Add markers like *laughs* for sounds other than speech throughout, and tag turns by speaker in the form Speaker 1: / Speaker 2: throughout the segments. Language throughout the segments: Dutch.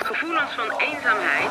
Speaker 1: Gevoelens van eenzaamheid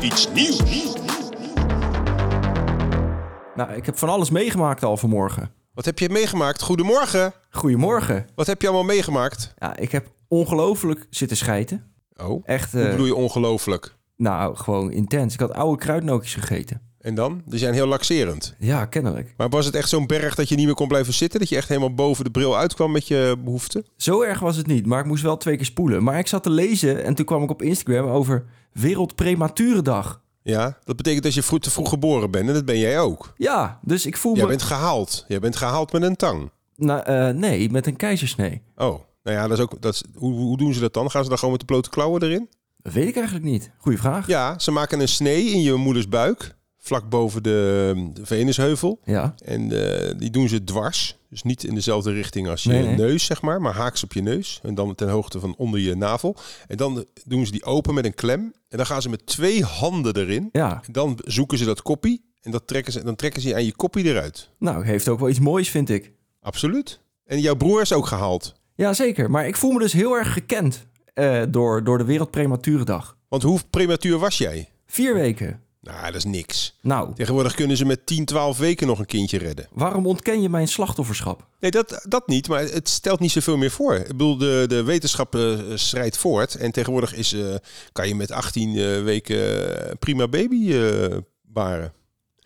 Speaker 2: iets nieuws.
Speaker 3: Nou, ik heb van alles meegemaakt al vanmorgen.
Speaker 2: Wat heb je meegemaakt? Goedemorgen.
Speaker 3: Goedemorgen.
Speaker 2: Wat heb je allemaal meegemaakt?
Speaker 3: Ja, ik heb ongelooflijk zitten schijten.
Speaker 2: Oh,
Speaker 3: Echt,
Speaker 2: hoe
Speaker 3: eh,
Speaker 2: bedoel je ongelooflijk?
Speaker 3: nou, gewoon intens. Ik had oude kruidnootjes gegeten.
Speaker 2: En dan? Die zijn heel laxerend.
Speaker 3: Ja, kennelijk.
Speaker 2: Maar was het echt zo'n berg dat je niet meer kon blijven zitten? Dat je echt helemaal boven de bril uitkwam met je behoeften?
Speaker 3: Zo erg was het niet, maar ik moest wel twee keer spoelen. Maar ik zat te lezen en toen kwam ik op Instagram over Wereldprematurendag.
Speaker 2: Ja, dat betekent dat je vroeg, te vroeg geboren bent. En dat ben jij ook.
Speaker 3: Ja, dus ik voel
Speaker 2: Jij
Speaker 3: me...
Speaker 2: bent gehaald. Jij bent gehaald met een tang.
Speaker 3: Nou, eh, nee, met een keizersnee.
Speaker 2: Oh, nou ja, dat is ook... Dat is, hoe, hoe doen ze dat dan? Gaan ze dan gewoon met de blote klauwen erin?
Speaker 3: Dat weet ik eigenlijk niet. Goeie vraag.
Speaker 2: Ja, ze maken een snee in je moeders buik. Vlak boven de, de Venusheuvel.
Speaker 3: Ja.
Speaker 2: En eh, die doen ze dwars. Dus niet in dezelfde richting als je
Speaker 3: Nee, nee.
Speaker 2: neus, zeg maar. Maar haaks op je neus. En dan ten hoogte van onder je navel. En dan doen ze die open met een klem. En dan gaan ze met twee handen erin.
Speaker 3: Ja.
Speaker 2: En dan zoeken ze dat koppie. En dat trekken ze, dan trekken ze je aan je koppie eruit.
Speaker 3: Nou, heeft ook wel iets moois, vind ik.
Speaker 2: Absoluut. En jouw broer is ook gehaald.
Speaker 3: Ja, zeker. Maar ik voel me dus heel erg gekend eh, door, door de Wereldprematurendag.
Speaker 2: Want hoe prematuur was jij?
Speaker 3: Vier weken.
Speaker 2: Nou, dat is niks.
Speaker 3: Nou,
Speaker 2: Tegenwoordig kunnen ze met 10, 12 weken nog een kindje redden.
Speaker 3: waarom ontken je mijn slachtofferschap?
Speaker 2: Nee, dat, dat niet, maar het stelt niet zoveel meer voor. Ik bedoel, de, de wetenschap eh, schrijdt voort. En tegenwoordig is, eh, kan je met 18 eh, weken eh, prima baby eh, baren.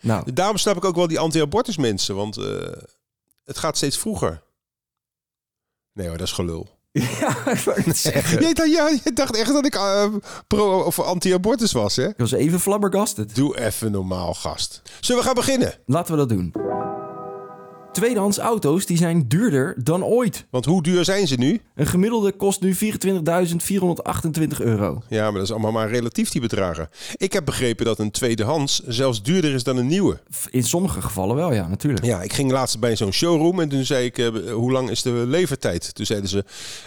Speaker 3: Nou,
Speaker 2: Daarom snap ik ook wel die anti-abortus mensen, want eh, het gaat steeds vroeger. Nee hoor, dat is gelul.
Speaker 3: *laughs* ja, ik wou *laughs* het zeggen.
Speaker 2: Jij dacht, ja, *laughs* je dacht echt dat ik eh, pro- of anti-abortus was, hè?
Speaker 3: Ik was even flabbergasted.
Speaker 2: Doe even normaal, gast. Zullen we gaan beginnen?
Speaker 3: Laten we dat doen. Tweedehands auto's die zijn duurder dan ooit.
Speaker 2: Want hoe duur zijn ze nu?
Speaker 3: Een gemiddelde kost nu 24.428 euro.
Speaker 2: Ja, maar dat is allemaal maar relatief, die bedragen. Ik heb begrepen dat een tweedehands zelfs duurder is dan een nieuwe.
Speaker 3: F- In sommige gevallen wel, ja, natuurlijk.
Speaker 2: Ja, ik ging laatst bij zo'n showroom en toen zei ik, eh, hoe lang is de levertijd? Toen zeiden ze,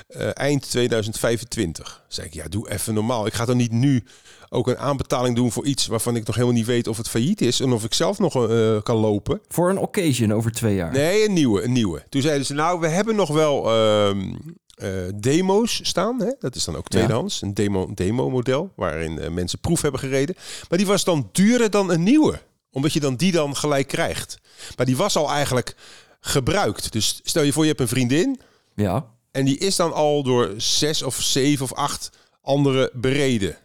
Speaker 2: eh, eind 2025. zei ik, ja, doe even normaal. Ik ga dan niet nu ook een aanbetaling doen voor iets waarvan ik nog helemaal niet weet of het failliet is en of ik zelf nog eh, kan lopen.
Speaker 3: Voor een occasion over twee jaar.
Speaker 2: Nee, een nieuwe, een nieuwe. Toen zeiden ze, nou, we hebben nog wel ehm, eh, demo's staan. Hè? Dat is dan ook tweedehands, een demo- demo-model waarin eh, mensen proef hebben gereden. Maar die was dan duurder dan een nieuwe, omdat je dan die dan gelijk krijgt. Maar die was al eigenlijk gebruikt. Dus stel je voor, je hebt een vriendin
Speaker 3: Ja,
Speaker 2: en die is dan al door zes of zeven of acht anderen bereden.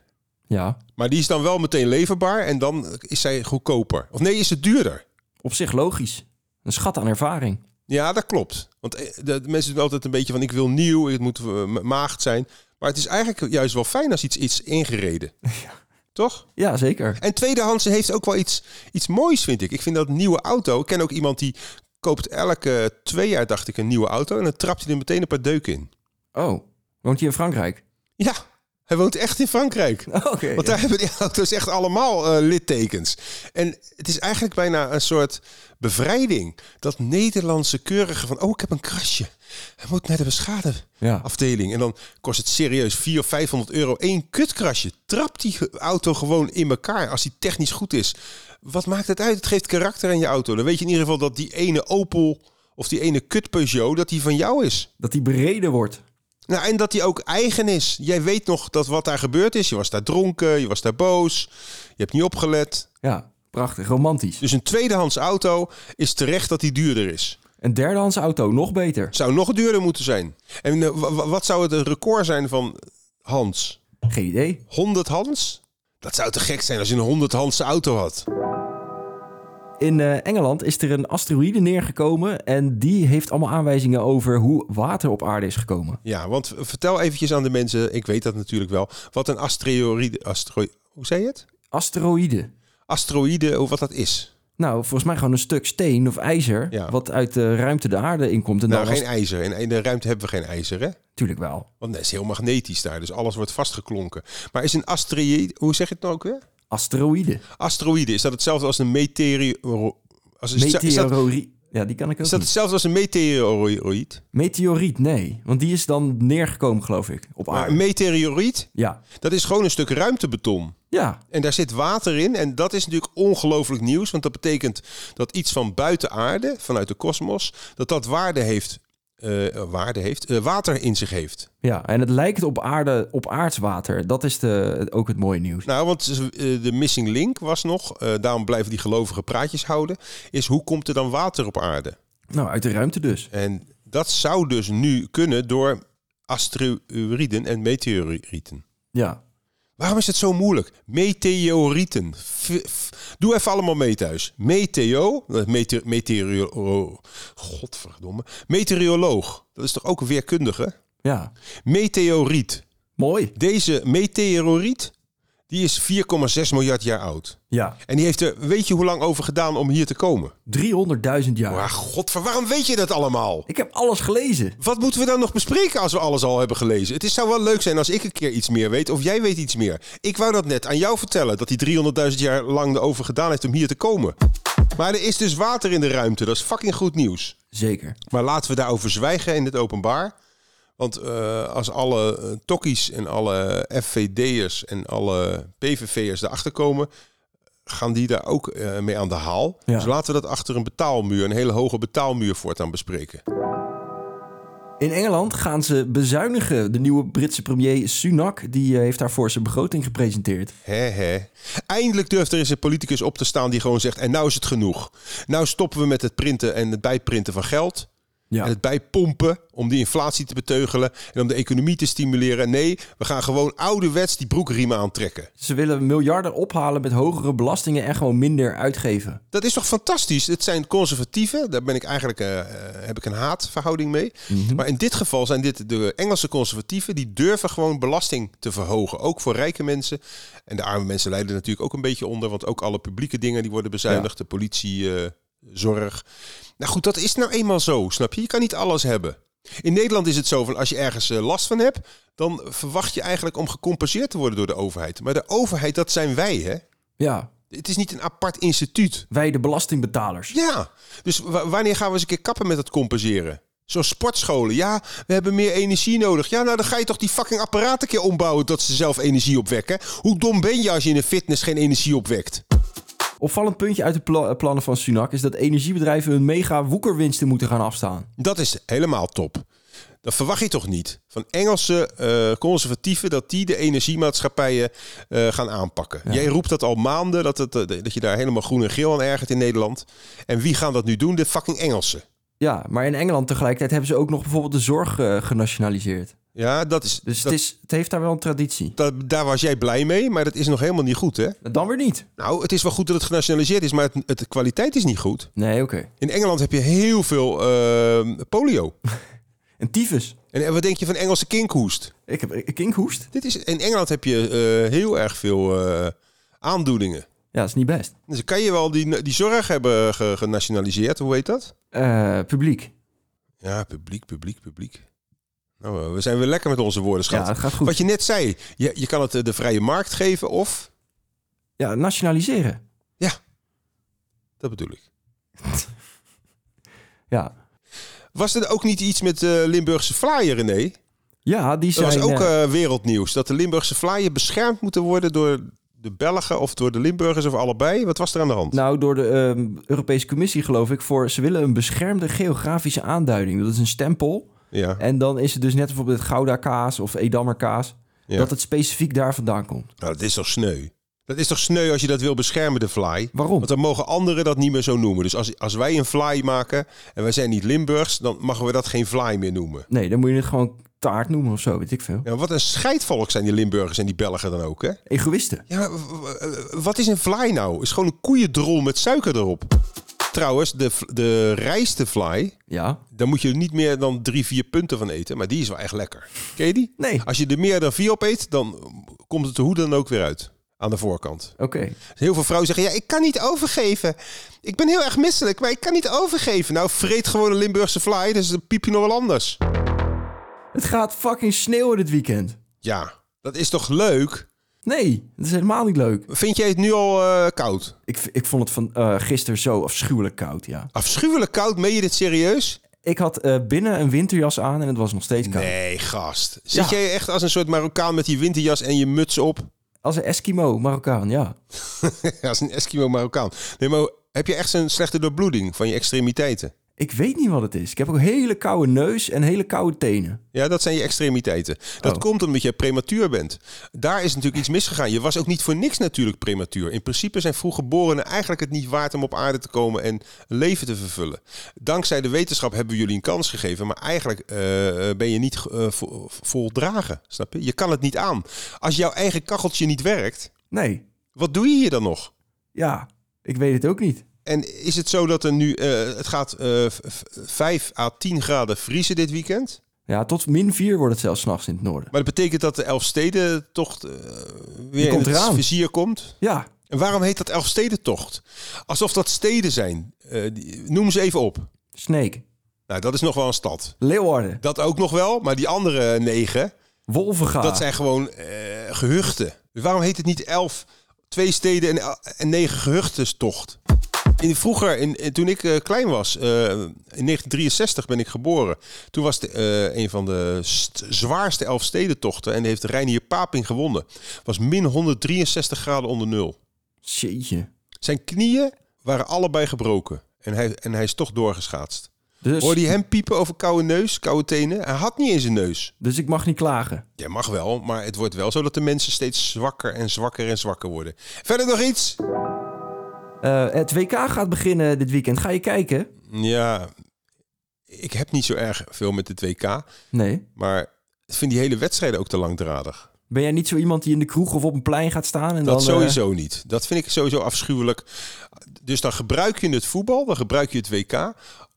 Speaker 3: ja.
Speaker 2: Maar die is dan wel meteen leverbaar en dan is zij goedkoper. Of nee, is het duurder?
Speaker 3: Op zich logisch. Een schat aan ervaring.
Speaker 2: Ja, dat klopt. Want eh, de, de mensen doen altijd een beetje van ik wil nieuw, het moet eh, ma- maagd zijn. Maar het is eigenlijk juist wel fijn als iets is ingereden. Toch?
Speaker 3: Ja, zeker.
Speaker 2: En tweedehands heeft ook wel iets, iets moois, vind ik. Ik vind dat een nieuwe auto. Ik ken ook iemand die koopt elke twee jaar, dacht ik, een nieuwe auto. En dan trapt hij er meteen een paar deuken in.
Speaker 3: Oh, woont hij in Frankrijk?
Speaker 2: Ja, hij woont echt in Frankrijk.
Speaker 3: *laughs* Oké.
Speaker 2: Want daar hebben die *laughs* auto's echt allemaal eh, littekens. En het is eigenlijk bijna een soort bevrijding. Dat Nederlandse keurige van, oh, ik heb een krasje. Hij moet naar de
Speaker 3: Ja.
Speaker 2: beschadeafdeling. En dan kost het serieus 400 of 500 euro. Eén kutkrasje. Trap die ge- auto gewoon in elkaar als die technisch goed is. Wat maakt het uit? Het geeft karakter aan je auto. Dan weet je in ieder geval dat die ene Opel of die ene kut Peugeot, dat die van jou is.
Speaker 3: Dat hij bereden wordt.
Speaker 2: Nou, en dat die ook eigen is. Jij weet nog dat wat daar gebeurd is. Je was daar dronken, je was daar boos, je hebt niet opgelet.
Speaker 3: Ja, prachtig, romantisch.
Speaker 2: Dus een tweedehands auto is terecht dat die duurder is.
Speaker 3: Een derdehands auto, nog beter.
Speaker 2: Het zou nog duurder moeten zijn. En eh, wa- wa- wat zou het record zijn van Hans?
Speaker 3: Geen idee.
Speaker 2: 100 Hans? Dat zou te gek zijn als je een 100 handse auto had.
Speaker 3: In eh, Engeland is er een asteroïde neergekomen en die heeft allemaal aanwijzingen over hoe water op aarde is gekomen.
Speaker 2: Ja, want v- vertel eventjes aan de mensen, ik weet dat natuurlijk wel, wat een asteroïde, astero, hoe zei je het?
Speaker 3: Asteroïde.
Speaker 2: Asteroïde, of wat dat is.
Speaker 3: Nou, volgens mij gewoon een stuk steen of ijzer
Speaker 2: Ja.
Speaker 3: wat uit de ruimte de aarde inkomt. En
Speaker 2: Nou,
Speaker 3: dan
Speaker 2: geen ijzer. In- In de ruimte hebben we geen ijzer, hè?
Speaker 3: Natuurlijk wel.
Speaker 2: Want het is heel magnetisch daar, dus alles wordt vastgeklonken. Maar is een asteroïde, hoe zeg je het nou ook weer?
Speaker 3: Asteroïde.
Speaker 2: Asteroïde, is dat hetzelfde als een meteoro... Als Dus is, is, dat,
Speaker 3: Meteoriet. Ja, die kan ik ook
Speaker 2: is dat
Speaker 3: niet.
Speaker 2: hetzelfde als een meteoroïd?
Speaker 3: Meteoriet, nee. Want die is dan neergekomen, geloof ik, op
Speaker 2: Maar
Speaker 3: aarde.
Speaker 2: een meteoroïd,
Speaker 3: Ja.
Speaker 2: dat is gewoon een stuk ruimtebeton.
Speaker 3: Ja.
Speaker 2: En daar zit water in. En dat is natuurlijk ongelooflijk nieuws. Want dat betekent dat iets van buiten aarde, vanuit de kosmos, dat dat waarde heeft. eh, waarde heeft eh, water in zich heeft.
Speaker 3: Ja, en het lijkt op aarde, op aardswater. Dat is de, ook het mooie nieuws.
Speaker 2: Nou, want eh, de missing link was nog, eh, daarom blijven die gelovigen praatjes houden, is hoe komt er dan water op aarde?
Speaker 3: Nou, uit de ruimte dus.
Speaker 2: En dat zou dus nu kunnen door asteroïden en meteorieten.
Speaker 3: Ja.
Speaker 2: Waarom is het zo moeilijk? Meteorieten. F- f- Doe even allemaal mee thuis. Meteo, dat is mete meteoro... oh, Godverdomme. Meteoroloog, dat is toch ook een weerkundige?
Speaker 3: Ja.
Speaker 2: Meteoriet.
Speaker 3: Mooi.
Speaker 2: Deze meteoriet, die is 4,6 miljard jaar oud.
Speaker 3: Ja.
Speaker 2: En die heeft er, weet je hoe lang over gedaan om hier te komen?
Speaker 3: 300.000 jaar.
Speaker 2: Maar godver, waarom weet je dat allemaal?
Speaker 3: Ik heb alles gelezen.
Speaker 2: Wat moeten we dan nog bespreken als we alles al hebben gelezen? Het is, zou wel leuk zijn als ik een keer iets meer weet of jij weet iets meer. Ik wou dat net aan jou vertellen, dat hij 300.000 jaar lang erover gedaan heeft om hier te komen. Maar er is dus water in de ruimte, dat is fucking goed nieuws.
Speaker 3: Zeker.
Speaker 2: Maar laten we daarover zwijgen in het openbaar. Want eh, als alle eh, tokkies en alle FVD'ers en alle PVV'ers erachter komen... gaan die daar ook eh, mee aan de haal.
Speaker 3: Ja.
Speaker 2: Dus laten we dat achter een betaalmuur, een hele hoge betaalmuur voortaan bespreken.
Speaker 3: In Engeland gaan ze bezuinigen. De nieuwe Britse premier Sunak die eh, heeft daarvoor zijn begroting gepresenteerd.
Speaker 2: Hè, hè. Eindelijk durft er eens een politicus op te staan die gewoon zegt... en nou is het genoeg. Nou stoppen we met het printen en het bijprinten van geld...
Speaker 3: Ja.
Speaker 2: En het bijpompen om die inflatie te beteugelen en om de economie te stimuleren. Nee, we gaan gewoon ouderwets die broekriemen aantrekken.
Speaker 3: Ze willen miljarden ophalen met hogere belastingen en gewoon minder uitgeven.
Speaker 2: Dat is toch fantastisch? Het zijn conservatieven. Daar ben ik eigenlijk, eh, eh, heb ik een haatverhouding mee. Maar in dit geval zijn dit de Engelse conservatieven. Die durven gewoon belasting te verhogen. Ook voor rijke mensen. En de arme mensen lijden natuurlijk ook een beetje onder. Want ook alle publieke dingen die worden bezuinigd. De politie, eh, zorg. Nou goed, dat is nou eenmaal zo, snap je? Je kan niet alles hebben. In Nederland is het zo van als je ergens eh, last van hebt, dan verwacht je eigenlijk om gecompenseerd te worden door de overheid. Maar de overheid, dat zijn wij, hè?
Speaker 3: Ja.
Speaker 2: Het is niet een apart instituut.
Speaker 3: Wij de belastingbetalers.
Speaker 2: Ja, dus wa- wanneer gaan we eens een keer kappen met het compenseren? Zo'n sportscholen, ja, we hebben meer energie nodig. Ja, nou dan ga je toch die fucking apparaten een keer ombouwen dat ze zelf energie opwekken. Hoe dom ben je als je in een fitness geen energie opwekt?
Speaker 3: Opvallend puntje uit de pla- eh, plannen van Sunak is dat energiebedrijven hun mega woekerwinsten moeten gaan afstaan.
Speaker 2: Dat is helemaal top. Dat verwacht je toch niet van Engelse eh, conservatieven dat die de energiemaatschappijen eh, gaan aanpakken. Jij roept dat al maanden, dat, het, eh, dat je daar helemaal groen en geel aan ergert in Nederland. En wie gaan dat nu doen? De fucking Engelsen.
Speaker 3: Ja, maar in Engeland tegelijkertijd hebben ze ook nog bijvoorbeeld de zorg eh, genationaliseerd.
Speaker 2: Ja, dat is.
Speaker 3: Dus
Speaker 2: dat-
Speaker 3: het, is, het heeft daar wel een traditie.
Speaker 2: dat- daar was jij blij mee, maar dat is nog helemaal niet goed, hè?
Speaker 3: Dan weer niet.
Speaker 2: Nou, het is wel goed dat het genationaliseerd is, maar het, het- de kwaliteit is niet goed.
Speaker 3: Nee, oké.
Speaker 2: In Engeland heb je heel veel ehm, polio.
Speaker 3: En tyfus.
Speaker 2: En, en wat denk je van Engelse kinkhoest?
Speaker 3: Ik heb eh, een kinkhoest.
Speaker 2: Dit is, in Engeland heb je eh, heel erg veel eh, aandoeningen.
Speaker 3: Ja, dat is niet best.
Speaker 2: Dus dan kan je wel die, die zorg hebben ge- genationaliseerd, hoe heet dat?
Speaker 3: Eh, publiek.
Speaker 2: Ja, publiek, publiek, publiek. Nou, eh, we zijn weer lekker met onze woorden,
Speaker 3: Ja,
Speaker 2: schat.
Speaker 3: dat gaat goed.
Speaker 2: wat je net zei, je, je kan het eh, de vrije markt geven of...
Speaker 3: Ja, nationaliseren.
Speaker 2: Dat bedoel ik.
Speaker 3: Ja.
Speaker 2: Was er ook niet iets met eh Limburgse Flyer, René?
Speaker 3: Ja, die
Speaker 2: Dat
Speaker 3: zijn...
Speaker 2: was ook
Speaker 3: eh,
Speaker 2: eh, wereldnieuws. Dat de Limburgse vlaaien beschermd moeten worden door de Belgen of door de Limburgers of allebei. Wat was er aan de hand?
Speaker 3: nou, door de ehm, Europese Commissie geloof ik, voor ze willen een beschermde geografische aanduiding. Dat is een stempel.
Speaker 2: ja.
Speaker 3: En dan is het dus net bijvoorbeeld Gouda kaas of Edammer kaas,
Speaker 2: Ja.
Speaker 3: dat het specifiek daar vandaan komt.
Speaker 2: nou, dat is toch sneu? Dat is toch sneu als je dat wil beschermen, de fly?
Speaker 3: Waarom?
Speaker 2: Want dan mogen anderen dat niet meer zo noemen. Dus als, als wij een fly maken en wij zijn niet Limburgs, dan mogen we dat geen fly meer noemen.
Speaker 3: Nee, dan moet je het gewoon taart noemen of zo, weet ik veel.
Speaker 2: Ja, wat een scheidvolk zijn die Limburgers en die Belgen dan ook, hè?
Speaker 3: Egoïsten.
Speaker 2: Ja, maar w- w- wat is een fly nou? Is gewoon een koeiendrol met suiker erop. Trouwens, de, v- de rijstefly,
Speaker 3: Ja.
Speaker 2: daar moet je niet meer dan drie, vier punten van eten. Maar die is wel echt lekker. Ken je die?
Speaker 3: Nee.
Speaker 2: Als je er meer dan vier op eet, dan komt het er hoe dan ook weer uit. Aan de voorkant.
Speaker 3: Oké.
Speaker 2: Heel veel vrouwen zeggen, ja, ik kan niet overgeven. Ik ben heel erg misselijk, maar ik kan niet overgeven. Nou, vreet gewoon een Limburgse fly, dus dan piep je nog wel anders.
Speaker 3: Het gaat fucking sneeuwen dit weekend.
Speaker 2: Ja, dat is toch leuk?
Speaker 3: Nee, dat is helemaal niet leuk.
Speaker 2: Vind jij het nu al eh, koud?
Speaker 3: Ik, v- ik vond het van eh, gisteren zo afschuwelijk koud, ja.
Speaker 2: Afschuwelijk koud, meen je dit serieus?
Speaker 3: Ik had eh, binnen een winterjas aan en het was nog steeds koud.
Speaker 2: Nee, gast. Zit
Speaker 3: Ja.
Speaker 2: jij echt als een soort Marokkaan met die winterjas en je muts op?
Speaker 3: Als een Eskimo, Marokkaan, ja.
Speaker 2: Ja, als een Eskimo-Marokkaan. Nee, maar heb je echt zo'n slechte doorbloeding van je extremiteiten?
Speaker 3: Ik weet niet wat het is. Ik heb ook een hele koude neus en hele koude tenen.
Speaker 2: Ja, dat zijn je extremiteiten. Dat
Speaker 3: Oh.
Speaker 2: komt omdat je prematuur bent. Daar is natuurlijk iets misgegaan. Je was ook niet voor niks natuurlijk prematuur. In principe zijn vroeggeborenen eigenlijk het niet waard om op aarde te komen en een leven te vervullen. Dankzij de wetenschap hebben we jullie een kans gegeven, maar eigenlijk eh, ben je niet eh, vo- voldragen. Snap je? Je kan het niet aan. Als jouw eigen kacheltje niet werkt,
Speaker 3: Nee,
Speaker 2: wat doe je hier dan nog?
Speaker 3: ja, ik weet het ook niet.
Speaker 2: En is het zo dat er nu, eh, het gaat eh, v- v- 5 à 10 graden vriezen dit weekend?
Speaker 3: Ja, tot min 4 wordt het zelfs s'nachts in het noorden.
Speaker 2: Maar dat betekent dat de Elfstedentocht eh, weer
Speaker 3: komt
Speaker 2: in het
Speaker 3: eraan.
Speaker 2: vizier komt.
Speaker 3: Ja,
Speaker 2: En waarom heet dat Elfstedentocht? Alsof dat steden zijn. Eh, die- noem ze even op.
Speaker 3: Snake,
Speaker 2: Nou, dat is nog wel een stad.
Speaker 3: Leeuwarden,
Speaker 2: Dat ook nog wel, maar die andere negen,
Speaker 3: Wolvenga.
Speaker 2: dat zijn gewoon eh, gehuchten. Dus waarom heet het niet elf, twee steden en, el- en negen gehuchtenstocht? In, vroeger, in, in- toen ik eh, klein was, eh, in 1963 ben ik geboren. Toen was de, eh, een van de st- zwaarste elfstedentochten en die heeft Reinier Paping gewonnen. Was min 163 graden onder nul.
Speaker 3: Jeetje.
Speaker 2: Zijn knieën waren allebei gebroken en hij, en hij is toch doorgeschaatst.
Speaker 3: Dus,
Speaker 2: Hoorde je hem piepen over koude neus, koude tenen? Hij had niet eens een neus.
Speaker 3: dus ik mag niet klagen.
Speaker 2: Ja, mag wel, maar het wordt wel zo dat de mensen steeds zwakker en zwakker en zwakker worden. Verder nog iets?
Speaker 3: Eh, het WK gaat beginnen dit weekend. Ga je kijken?
Speaker 2: Ja, ik heb niet zo erg veel met het WK,
Speaker 3: Nee.
Speaker 2: maar ik vind die hele wedstrijden ook te langdradig.
Speaker 3: Ben jij niet zo iemand die in de kroeg of op een plein gaat staan?
Speaker 2: Dat
Speaker 3: En dan, eh,
Speaker 2: sowieso niet. Dat vind ik sowieso afschuwelijk. Dus dan gebruik je het voetbal, dan gebruik je het WK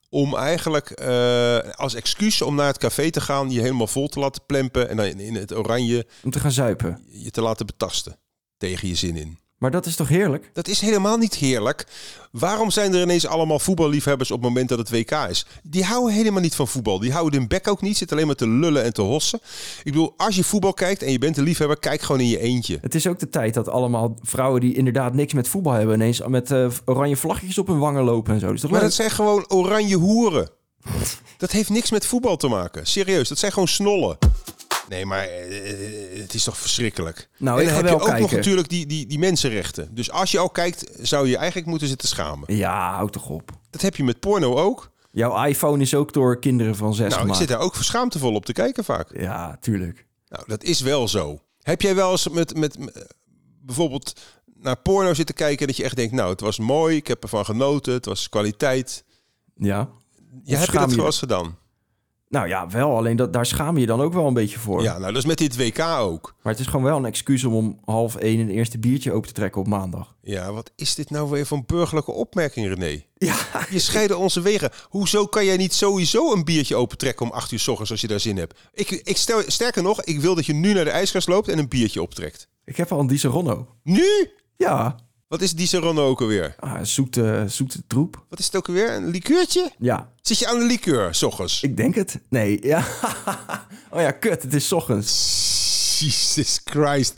Speaker 2: om eigenlijk eh, als excuus om naar het café te gaan, je helemaal vol te laten plempen en dan in het oranje
Speaker 3: eh, om te gaan zuipen.
Speaker 2: je te laten betasten tegen je zin in.
Speaker 3: Maar dat is toch heerlijk?
Speaker 2: Dat is helemaal niet heerlijk. Waarom zijn er ineens allemaal voetballiefhebbers op het moment dat het WK is? Die houden helemaal niet van voetbal. Die houden hun bek ook niet. Zitten alleen maar te lullen en te hossen. Ik bedoel, als je voetbal kijkt en je bent een liefhebber, kijk gewoon in je eentje.
Speaker 3: Het is ook de tijd dat allemaal vrouwen die inderdaad niks met voetbal hebben... ineens met eh, oranje vlaggetjes op hun wangen lopen en zo. Dus toch
Speaker 2: Maar
Speaker 3: leuk?
Speaker 2: dat zijn gewoon oranje hoeren. Dat heeft niks met voetbal te maken. Serieus, dat zijn gewoon snollen. Nee, maar eh, het is toch verschrikkelijk.
Speaker 3: Nou,
Speaker 2: en
Speaker 3: ik
Speaker 2: dan
Speaker 3: ga
Speaker 2: heb je
Speaker 3: wel
Speaker 2: ook nog
Speaker 3: kijken.
Speaker 2: natuurlijk die, die, die mensenrechten. Dus als je al kijkt, zou je je eigenlijk moeten zitten schamen.
Speaker 3: Ja, houd toch op.
Speaker 2: Dat heb je met porno ook.
Speaker 3: Jouw iPhone is ook door kinderen van zes
Speaker 2: Nou, ik
Speaker 3: gemaakt.
Speaker 2: zit daar ook verschaamdevol op te kijken vaak.
Speaker 3: Ja, tuurlijk.
Speaker 2: Nou, dat is wel zo. Heb jij wel eens met, met, eh, bijvoorbeeld naar porno zitten kijken dat je echt denkt, nou, het was mooi, ik heb ervan genoten, het was kwaliteit.
Speaker 3: Ja.
Speaker 2: Ja, heb je
Speaker 3: schaam
Speaker 2: dat
Speaker 3: je
Speaker 2: wel
Speaker 3: je?
Speaker 2: eens gedaan?
Speaker 3: Nou ja, wel. Alleen dat, daar schaam je je dan ook wel een beetje voor.
Speaker 2: Ja, nou, dat is met dit WK ook.
Speaker 3: Maar het is gewoon wel een excuus om om half één een eerste biertje open te trekken op maandag.
Speaker 2: Ja, wat is dit nou weer voor een burgerlijke opmerking, René?
Speaker 3: Ja. *laughs*
Speaker 2: Je scheiden onze wegen. Hoezo kan jij niet sowieso een biertje opentrekken om 8 uur s ochtends als je daar zin hebt? Ik, ik stel, sterker nog, ik wil dat je nu naar de ijskast loopt en een biertje optrekt.
Speaker 3: Ik heb al een Di Seronno.
Speaker 2: Nu?
Speaker 3: Ja.
Speaker 2: Wat is die Serrano ook alweer?
Speaker 3: Ah, zoete, zoete troep.
Speaker 2: Wat is het ook alweer? Een likeurtje?
Speaker 3: Ja.
Speaker 2: Zit je aan de liqueur, s ochtends?
Speaker 3: Ik denk het. Nee. Ja. *laughs* oh ja, kut. Het is 's ochtends.
Speaker 2: Jesus Christ.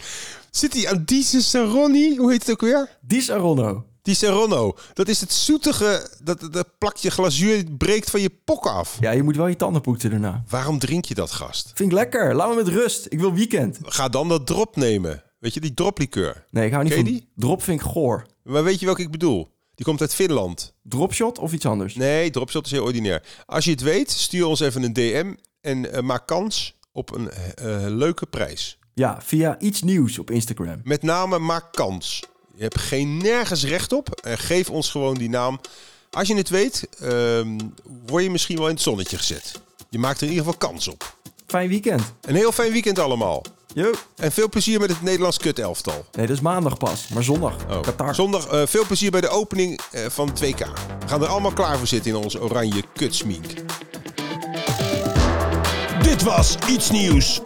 Speaker 2: Zit hij aan die Ronnie? Hoe heet het ook weer?
Speaker 3: Di Seronno.
Speaker 2: Die Serrano. Dat is het zoetige, dat, dat plakje glazuur breekt van je pok af.
Speaker 3: Ja, je moet wel je tanden poetsen daarna.
Speaker 2: Waarom drink je dat, gast?
Speaker 3: Vind ik lekker. Laat me met rust. Ik wil weekend.
Speaker 2: Ga dan dat drop nemen. Weet je, die droplikeur.
Speaker 3: Nee, ik hou niet
Speaker 2: Ken je
Speaker 3: van...
Speaker 2: die?
Speaker 3: Drop vind ik goor.
Speaker 2: Maar weet je welke ik bedoel? Die komt uit Finland.
Speaker 3: Dropshot of iets anders?
Speaker 2: Nee, dropshot is heel ordinair. Als je het weet, stuur ons even een DM en eh, maak kans op een eh, eh, leuke prijs.
Speaker 3: Ja, via iets nieuws op Instagram.
Speaker 2: Met name maak kans. Je hebt geen nergens recht op. En geef ons gewoon die naam. Als je het weet, ehm, word je misschien wel in het zonnetje gezet. Je maakt er in ieder geval kans op.
Speaker 3: Fijn weekend.
Speaker 2: Een heel fijn weekend allemaal.
Speaker 3: Yo.
Speaker 2: En veel plezier met het Nederlands kutelftal.
Speaker 3: Nee, dat is maandag pas, maar zondag.
Speaker 2: Oh.
Speaker 3: Qatar.
Speaker 2: Zondag eh, veel plezier bij de opening eh, van het 2K. We gaan er allemaal klaar voor zitten in onze oranje kutsmink. Dit was Iets Nieuws.